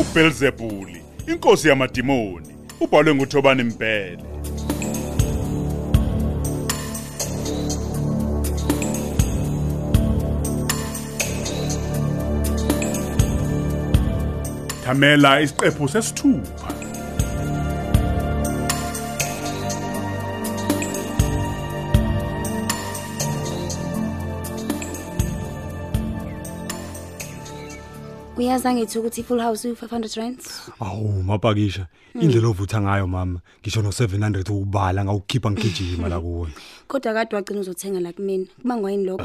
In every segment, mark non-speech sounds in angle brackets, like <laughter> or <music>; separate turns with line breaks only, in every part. uBelzebuli, inkosi yamadimoni, ubhalwe nguThobani Mbhele. Thamela isiqephu sesithupha.
uyazi angithi ukuthi i-full house uyi-500 rands
Awu mapakisha, indlela
Mm.
ovutha ngayo mama, ngisho no700 ubala ngawukhipha ngigijima la kuwe.
kodwa kade wagcina uzothenga la kumina kubangwa yini lokho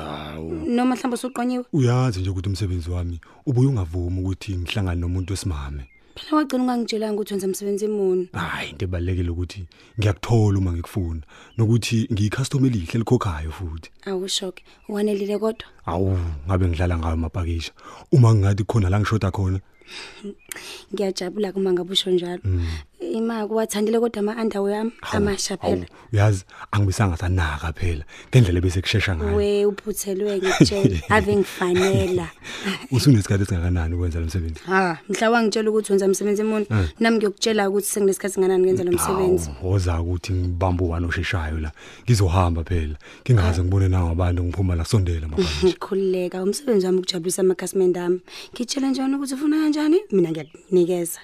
noma mhlawumbe usuqonyiwe
Uyazi nje ukuthi umsebenzi wami ubuye ungavumi ukuthi ngihlangane nomuntu wesimame.
phela wagcina ungangitshelanga ukuthi wenza msebenzi muni
Hayi into ebalekile ukuthi ngiyakuthola uma ngikufuna nokuthi ngiyicustomer elihle likhokhayo futhi.
awushoke uwanelile kodwa
Awu ngabe ngidlala ngayo mapakisha. Uma ngingathi khona la ngishoda khona,
ngiyajabula kuma ngabe usho njalo imaki wathandile kodwa ama-underwear ami amasha
awu
phela
uyazi angibisanga sanaka phela ngendlela bese kushesha ngayo.
we uphuthelwe ngitshela ave ngifanela
Usunesikhathi esingakanani ukwenza lo msebenzi?
ha mhla wangitshela ukuthi wenza msebenzi muni nami ngiyokutshela ukuthi senginesikhathi nganani ngenza lo msebenzi
Awu, woza ukuthi ngibambe uwani osheshayo la ngizohamba phela ngingaze ngibone nangabantu abantu ngiphuma la sondela
<laughs>
mabhanje
khululeka umsebenzi wami ukujabulisa amakhasimende ami ngitshele njani ukuthi ufuna kanjani mina ngiyakunikeza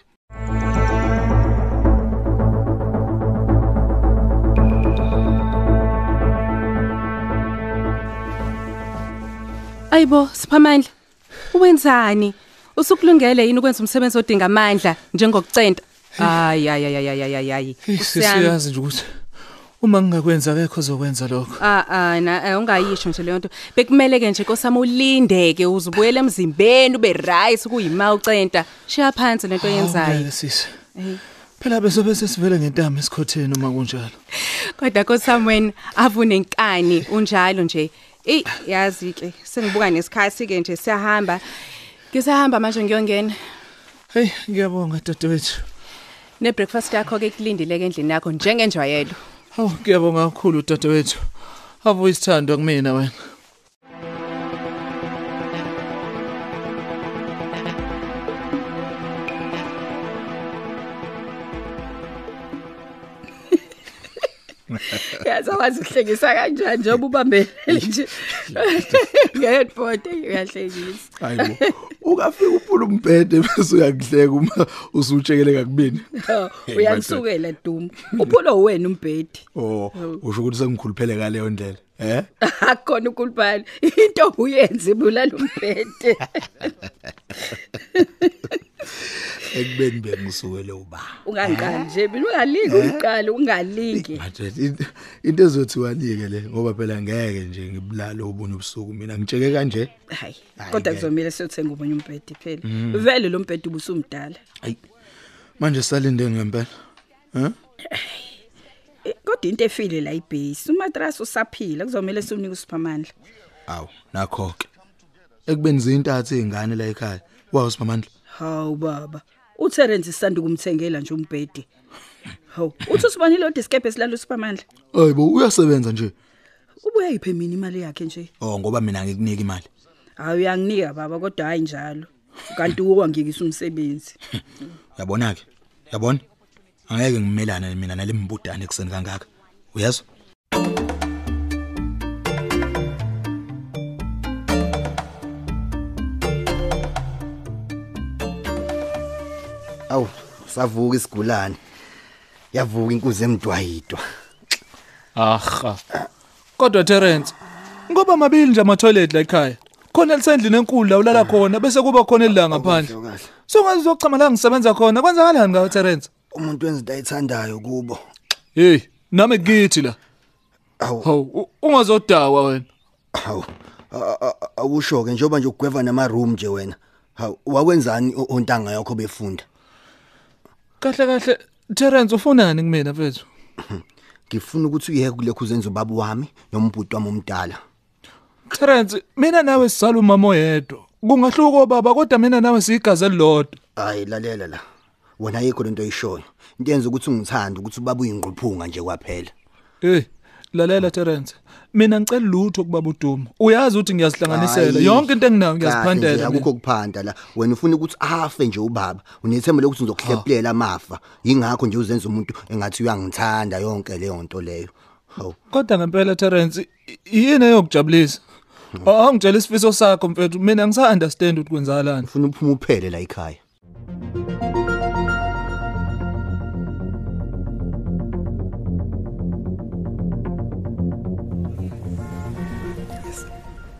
Ayibo, siphamandla. Uwenzani? Usukulungele yini ukwenza umsebenzi odinga amandla njengokucenta? Hayi ayayayayayayayi.
Sisiyazi nje ukuthi uma ngingakwenza akekho ozokwenza lokho.
Ah ah na eh, ungayisho nje leyo nto. Bekumele ke nje nkosami ulindeke uze ubuyele emzimbeni ube right kuyima ucenta. Shiya phansi lento
Awungeke,
oyenzayo.
Sisi. Phela besobe sesivele ngentamo esikhotheni uma kunjalo.
Kodwa nkosami wena avune inkani unjalo nje. Ey yazi ke sengibuka nesikhathi ke nje siyahamba. Ngisahamba manje ngiyongena.
Hey, ngiyabonga dadewethu.
Ne-breakfast yakho ke kulindileke endlini yakho njengenjwayelo.
Hawu, ngiyabonga kakhulu dadewethu. Avuya isithando kumina wena.
uyazawazi uhlengisa kanjani njengoba ubambelele nje nge-headboard uyahlengisa
Hayibo. Ukafika uphula umbhede bese uyakuhleka uma usutshekeleka kubini.
Ha, uyanisukela duma uphulwe uwena <laughs> umbhedi
Oh, usho ukuthi sengikhuluphele ka leyo ndlela. Eh?
akukhona ukulibali into uyenze bulala umbhede
Ekubeni bengisukele uba.
ungangiqali nje mina ungalingi ungiqale ungalingi
Manje into- into ezothiwa nike le ngoba phela ngeke nje ngibulale obunye ubusuku mina ngitsheke kanje.
hayi
Hayi,
kodwa
ngeke.
kuzomele siyothenga omunye umbhedi phela vele lo mbhedi ubusumdala
Hayi. Manje salindeni ngempela. Eh?
Eh, kodwa into efile la ibhesi umatrasi usaphila kuzomele siwunike usiphamandla
Awu, nakho ke. Ekubeni zintathe izingane la ekhaya. Wawu sibamandla.
hawu baba uterence isanda ukumthengela nje umbhedi hawu uthi usibonile odwa isikebhe silala usiphamandla
Hayibo, uyasebenza nje.
ubuya yiphe mina imali yakhe nje
Oh, ngoba mina ngikunike imali.
hayi uyanginika baba kodwa hayi njalo kanti uwangikisa umsebenzi
Uyabona ke? Uyabona? Angeke ngimelane mina nalimbudane ekseni kangaka. Uyezwa?
Awu, savuka isigulane. Yavuka inkunzi emdwayidwa.
Aha. Kodwa Terence, ngoba mabili nje ama toilet la ekhaya. Khona lisendlini enkulu la ulala khona bese kuba khona elanga phandle.
Kahle.
So ngazi uzochama la ngisebenza khona. Kwenzakalani ngawe Terence?
Umuntu wenza into ayithandayo kubo.
Hey, nami ngithi la.
Awu,
Hawu, u- ungazodawa wena.
awu. A- a- a- Awusho ke njengoba nje ugweva nama room nje wena. Hawu, wakwenzani o- ontanga yakho befunda?
Kahle kahle Terence ufunani kumina mfethu?
Ngifuna ukuthi uyeke kulekho uzenza ubaba wami nombhuti wami omdala.
Terence, mina nawe sizala umama oyedwa. Kungahluka obaba kodwa mina nawe siyigazi elilodwa.
Hayi lalela la. Wona ayikho lento oyishoyo. Into yenza ukuthi ungithande ukuthi ubaba uyingqophunga nje kwaphela.
Hey, lalela Terence. mina ngicela lutho kubaba uDuma uyazi ukuthi ngiyazihlanganisela
Hayi.
yonke into enginayo
Kahle nje,
ngiyaziphandela mina.
akukho kuphanda la wena ufuna ukuthi afe nje ubaba unethemba lokuthi uzokuhleplela amafa yingakho nje uzenza umuntu engathi uyangithanda yonke leyo nto leyo hawu
kodwa ngempela Terence i- yini eyokujabulisa Hmm. awungitshela isifiso sakho mfethu mina ngisa-understand ukuthi kwenzakalani
ufuna uphuma uphele la ekhaya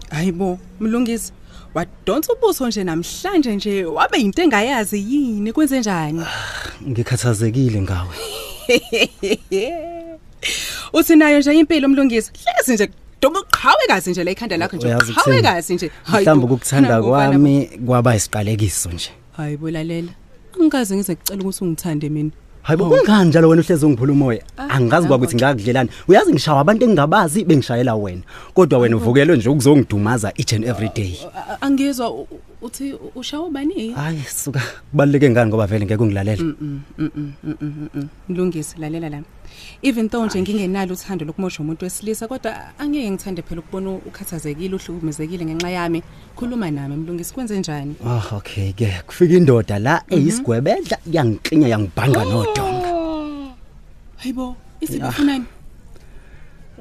hayibo mlungisi wadonsa ubuso nje namhlanje nje wabe yinto engayazi yini kwenze njani
Ah. ngikhathazekile ngawe
uthi nayo nje impilo mlungisi hlezi nje dobe uqhawekazi nje la ikhanda lakho nje
Uyazi ukuthini?
uqhawekazi nje Hayi
mhlawumbe
bo,
ukukuthanda
nangu ufana bo.
kwami kwaba isiqalekiso nje
hayi bolalela angikaze ngize ngicela ukuthi ungithande mina
hayibo kungani njalo wena uhlezi ungiphula umoya angazi kwakuthi ngakudlelani uyazi ngishawa abantu engingabazi bengishayela wena kodwa wena uvukelwe nje ukuzongidumaza each and every day
A- angizwa u- u- uthi ushawa ubani
Oh, hayi suka Mm, kubaluleke ngani ngoba vele ngeke ungilalele
Mm, mlungisi lalela la even though nje ngingenalo uthando lokumosha umuntu wesilisa kodwa angeke ngithande phela ukubona ukhathazekile uhlukumezekile ngenxa yami khuluma nami mlungisi kwenze njani
ah okay ke kufika indoda la eyisigwebedla yangiklinya yangibhanga nodonga
hayibo
Ah.
isibafunani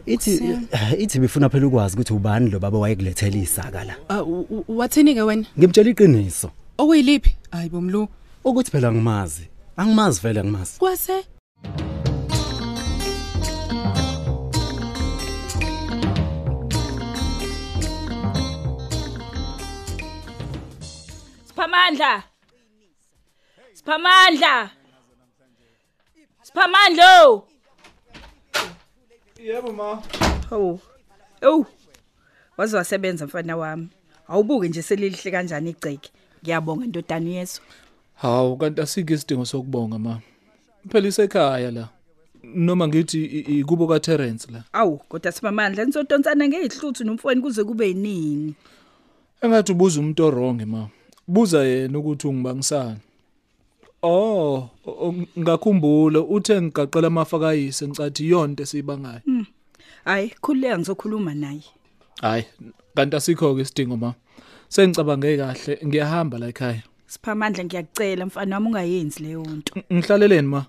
ithi eh, ithi bifuna phela ukwazi ukuthi ubani lo baba wayekulethela isaka la
Ah, wathini ke wena
ngimtshela iqiniso
okuyiliphi hayibo mlu
ukuthi phela ngimazi angimazi vele angimazi
kwase
Siphamandla. Siphamandla. Siphamandlo.
Yebo ma.
Hawu. Ew. Waze wasebenza mfana wami. Awubuke nje selilihle kanjani igceke. Ngiyabonga ndodana yeso.
hawu kanti asikho isidingo sokubonga ma phela isekhaya la noma ngithi i- i- ikubo katerence la
Awu, kodwa sibamandla nisodonsana ngezihluthu nomfweni kuze kube yinini.
engathi ubuza umuntu oronge ma buza yena ukuthi ungibangisani oh o- o- ngakhumbula uthe ngigaqela amafa kayise ngicathi yonto esiyibangayo
Hayi, khulileka ngizokhuluma naye.
hayi kanti asikho-ke isidingo ma sengicabange kahle ngiyahamba la ekhaya
Siphamandla ngiyakucela mfana wami ungayenzi leyo nto.
Ng- ngihlaleleni ma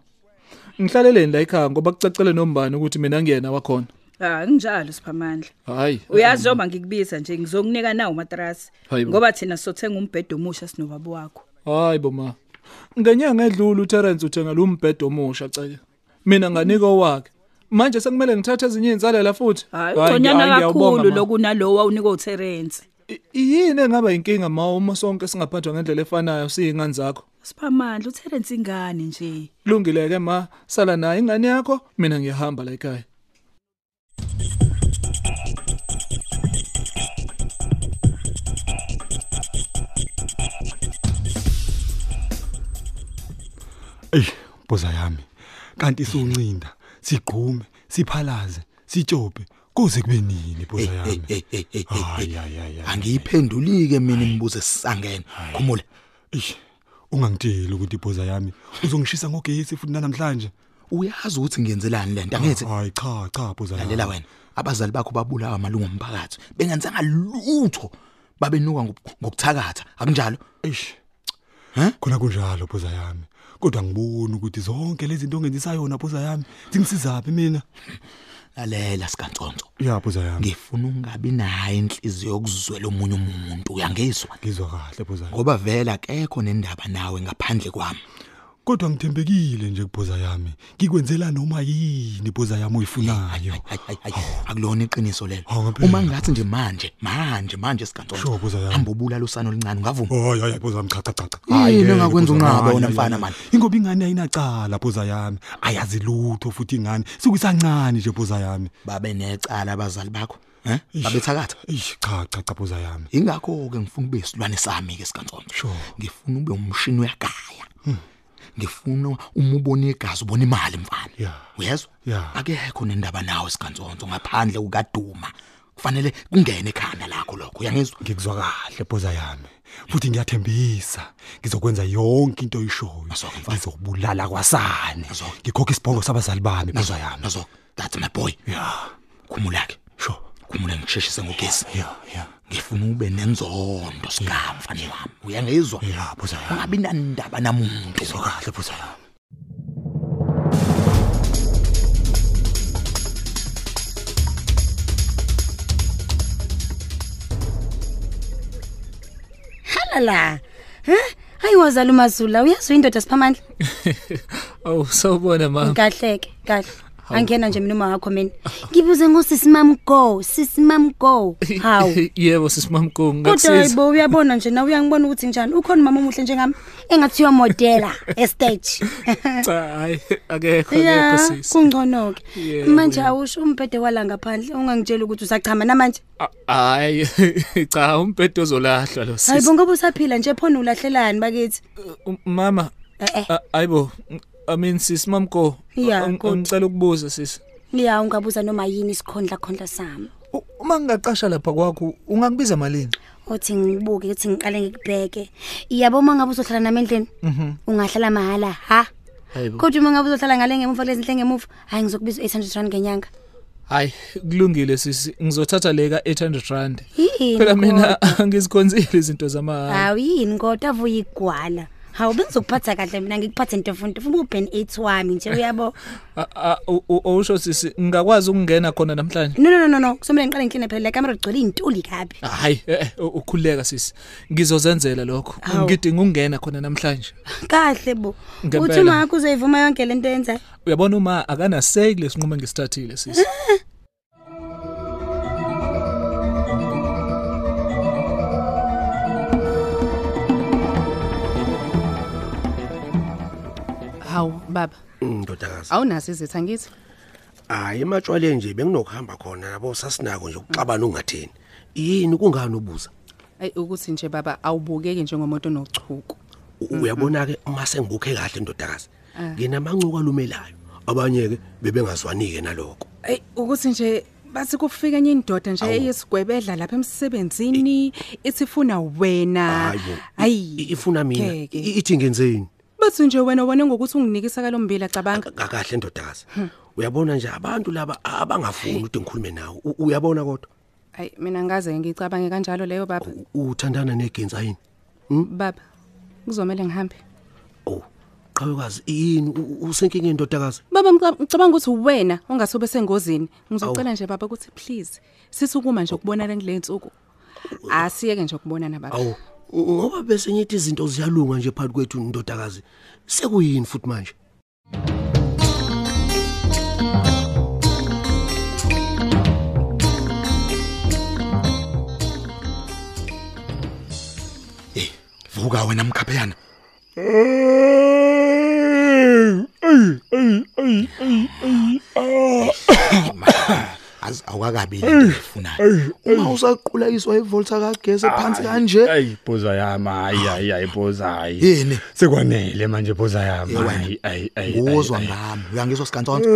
ngihlaleleni la ekhaya ngoba kucacele nombani ukuthi mina ngiyena wakhona
Ah, nginjalo siphamandla.
hayi
Uyazi noma ngikubiza nje ngizokunika nawo umatrasi
Hayi bo.
ngoba thina sothenga umbhedo omusha sinobaba wakho.
hayi bo ma ngenyanga edlule uterence uthenga lo mbhedo omusha ceke mina nganika owakhe manje sekumele ngithathe ezinye iy'nsalela futhi
Hayi,
Hayi,
ugconyana
ngi- hayi, ngiyawubonga,
kakhulu
ma.
lokunalowo awunika uTerence.
I- yini engaba yinkinga ma uma sonke singaphathwa ngendlela efanayo siyingane zakho
Siphamandla uTerence ingane nje.
kulungile-ke ma sala nayo ingane yakho mina ngiyahamba la ekhaya
eyi mbuza yami kanti siuncinda sigqume siphalaze sitshophe kuze kube nini
Eh,
mbuza yami
hey, hey, hey, hey,
hayi hayi hayi
angiyiphendulike mina imibuzo esisangene khumule
eish ungangitsheli ukuthi ibhoza yami uzongishisa ngogesi futhi namhlanje
uyazi ukuthi ngiyenzelani lento angithi
hayi cha cha bhoza yami
lalela wena abazali bakho babulawa amalungu omphakathi bengenzanga lutho babenuka ngoku- ngokuthakatha akunjalo
eish
Hä?
khona kunjalo bhoza yami kodwa ngibona ukuthi zonke lezi zinto ongenzisa yona bhoza yami zingisizaphi mina
lalela sikantsonto
ya bhoza yami
ngifuna ungabi nayo inhliziyo yokuzwela omunye umuntu uyangizwa
ngizwa kahle bhoza yami
ngoba vele akekho nendaba nawe ngaphandle kwami
kodwa ngithembekile nje kubhoza yami ngikwenzela noma yini ibhoza yami oyifunayo
Hayi, hayi, hayi,
Oh.
akulona iqiniso lelo
Hawu, ngempela.
uma ngingathi nje manje manje manje
Oh, Sho, buza yami. Oh.
sikantsontohamba ubulala usana oluncane ungavuma
hayi hayi bhoza yami cha cha cha cha
Yini
ngeke,
engakwenza
bhoza
unqabe
yami,
wena
hayi,
mfana
hayi,
mani?
hayi. ingoba ingane ayinacala bhoza yami ayazi lutho futhi ingane sikusancane nje bhoza yami
babe necala abazali bakho eh? babethakatha
eish cha cha cha bhoza yami
ingakho-ke ngifuna ube isilwane sami-ke sikantsonto
Sho. Hmm.
ngifuna ube umshini uyagaya ngifuna uma ubona igazi ubona imali mfana
Ya.
uyezwa
Ya.
akekho nendaba nawe sikantsonto ngaphandle kukaduma kufanele kungene ekhanda lakho lokho uyangizwa
ngikuzwa kahle bhoza yami futhi ngiyathembisa ngizokwenza yonke into oyishoyo
Azwakhe, mfana.
ngizobulala kwasane
Azwakhe.
ngikhokha isibhongo sabazali bami bhoza yami
nazo that's my boy
ya
khumula-ke
sho
kumele ngisheshise ngogesi
ya ya
ngifuna ube nenzondo sigama mfana wami uyangizwa
ya boza yami
ungabi nandaba namuntu
sokahle boza yami
la he hayi wazala umazula uyazi indoda siphamandla
awu sawubona mama
kahleke kahle angena nje mina uma wakho mina ngibuze ngosisi mam go sisi mam go hawu
<laughs> yebo sisimamkongo
kodwa
ngakusiza
yibo uyabona nje nawe uyangibona ukuthi njani ukhona umama omuhle njengami engathiwa modela <laughs> estage
cha hayi akekho akekho
ya
sisi
kungcono-ke
Yebo,
manje
yebo.
awusho umbhede wala ngaphandle ungangitsheli ukuthi usachama namanje
A- hayi <laughs> cha umbhedo uzolahlwa lo
hayi
sisi
bonke busaphila nje phona ulahlelani bakithi
Um, mama
e-e
a- ayibo Ah, i mean sisi mamko
Ya,
ang-
good.
angicela ukubuza sisi
ya ungabuza noma yini isikhondla khondla sami
U- uma ngingaqasha lapha kwakho ungangibiza malini
othi ngibuke ukuthi ngiqale ngikubheke yabo uma ngabe uzohlala nami endlini
Mhm.
ungahlala mahhala ha
hayibo
kodwa uma ngabe uzohlala ngale ngemuva lezi nhle ngemuva hhayi ngizokubiza u-800 rand ngenyanga
hayi kulungile sisi ngizothatha le ka 800 rand
yini Ah.
phela mina
kodwa?
<laughs> angizikhonzile izinto zamahala
hawu yini kodwa avuye igwala hawu bengizokuphatha kahle mina ngikuphathe ntofuntofuna ubhen eight wami nje uyabo
A- a- Ah, u- u- owusho sisi ngingakwazi ukungena khona namhlanje
no no no no no kusomele ngiqale ngikline phela le kamera ligcwele iy'ntuli kabi
hayi eh, eh, u- ukhululeka sisi ngizozenzela lokho
Hawu.
ngidinga ukungena khona namhlanje
kahle bo
Ngempela.
uthi uma wakho uzoyivuma yonke le nto yenzayo
uyabona uma akanaseki lesinqumo engisithathile sisi
hawu baba
Mm,
ndodakazi
awunazo izitha ngithi
hayi ematshwaleni nje benginokuhamba khona nabo sasinako nje ukuxabana ungatheni yini kungani ubuza
ayi ukuthi nje baba awubukeki njengomuntu onochuku
uyabona-ke uma sengibukhe kahle ndodakazi nginamancuku alumelayo abanye-ke bebengazwani-ke nalokho
ayi ukuthi nje bathi kufika enye indoda nje eyesigwebedla lapha emsebenzini ithi funa wena
Hayi bo, i- i-
ayi
ifuna mina
Ngeke.
I- ithi ngenzeni
bathi nje wena wona ngokuthi unginikisa kalombili acabanga
kakahle ndodakazi uyabona nje abantu laba abangafuni ukuthi ngikhulume nawe U- uyabona kodwa
ayi mina ngaze ngicabange kanjalo leyo baba
U- uthandana negenza yini
baba kuzomela ngihambe
o Oh, qhawekazi yini U- u- usenkingeni ndodakazi
baba ngica- ngicabanga ukuthi wena ongasobe sengozini ngizocela
Awu.
nje baba ukuthi please sisukuma nje ukubonana kule nsuku asiyeke nje ukubonana baba
awu ngoba bese nyithi izinto ziyalunga nje phakathi kwethu ndodakazi sekuyini futhi manje
eh vuka wena mkhapheyana
Eh!
azi awakabi le nto oyifunayo
uma usaqulakiswa ivolta kagesi phansi kanje
ayi boza yami hayi hayi hayi boza hayi
yini
Ah. Eh! sekwanele manje boza yami
wena.
hayi hayi hayi
uzwa ngami uyangizwa sikantsonto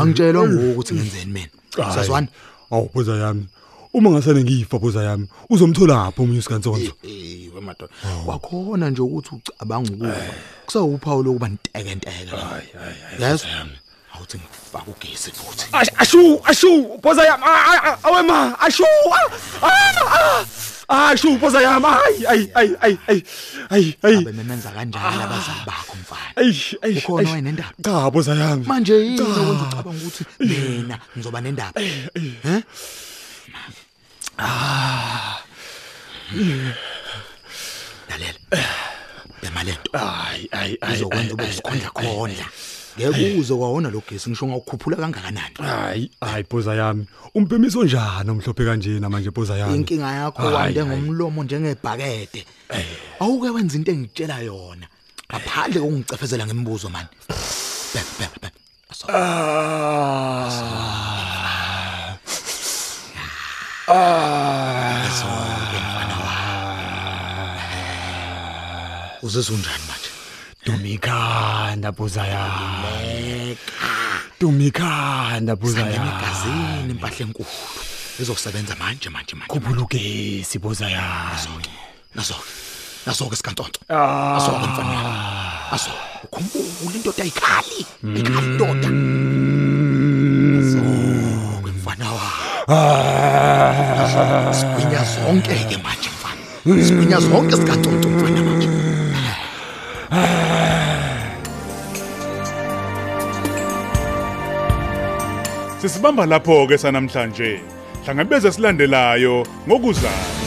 angitshelwa ngoku ukuthi ngenzeni mina sazwani
awu boza yami uma ngasane ngiyifa boza yami uzomthola apho umunye isikantsonto
Eh, we madoda
Oh.
wakhona nje ukuthi ucabanga ukufa kusawuphawu lokuba ntekenteke yes awuthi ngifaka ugesi futhi
ashu ashu boza yami Ah, ah, ah, awe ma ashu Ah, ah, ah. ashu boza yami hayi hayi hayi hayi hayi hayi hayi Ah.
abe memenza kanjani abazali bakho mfana
Eish, eish,
Ukhona
eish.
wayenendaba?
Cha boza yami.
manje yini
Ah.
okwenza ucabanga ukuthi mina ngizoba nendaba
Ah.
lalela
Eh.
bema lento
Ayi ayi ayi.
izokwenza ube sikhondla khondla ngeke uze kwawona lo gesi ngisho ngawukhuphula kangakanani
Hayi hayi boza yami. Umpimiso njani omhlophe kanjena manje boza yami?
inkinga yakho
Hayi,
wande
hayi.
ngomlomo njengebhakede awuke wenza into engitshela yona ngaphandle kokungicefezela ngemibuzo mani Bheka, bheka, bheka. Aso-
Ah.
Aso-ke mfana wami. uzizwa unjani manje
Dumikhanda boza yami. Dumikhanda boza yami.
emegazini impahla enkulu izosebenza manje manje manje
Kubulugesi boza yami.
naso-ke naso-ke sikantonto
Ah.
aso-ke mfana wami. aso ukhumbule indoda ayikhali ayikhali indoda aso-ke mfana wami Sigwinya zonke ke manje mfana. Sigwinya zonke sikaNtuntu mfana manje.
Sisibamba lapho ke sanamhlanje. Hlangabeze silandelayo ngokuzayo.